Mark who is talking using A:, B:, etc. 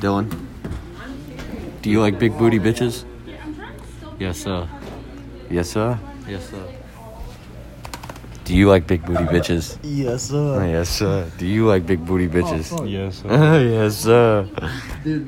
A: Dylan, do you like big booty bitches? Yes, sir. Yes, sir.
B: Yes, sir.
A: Do you like big booty bitches?
C: Yes,
A: Oh,
C: sir.
A: yes, sir. Do you like big booty bitches?
C: fuck.
B: Yes, sir.
A: yes, sir.
C: Dude,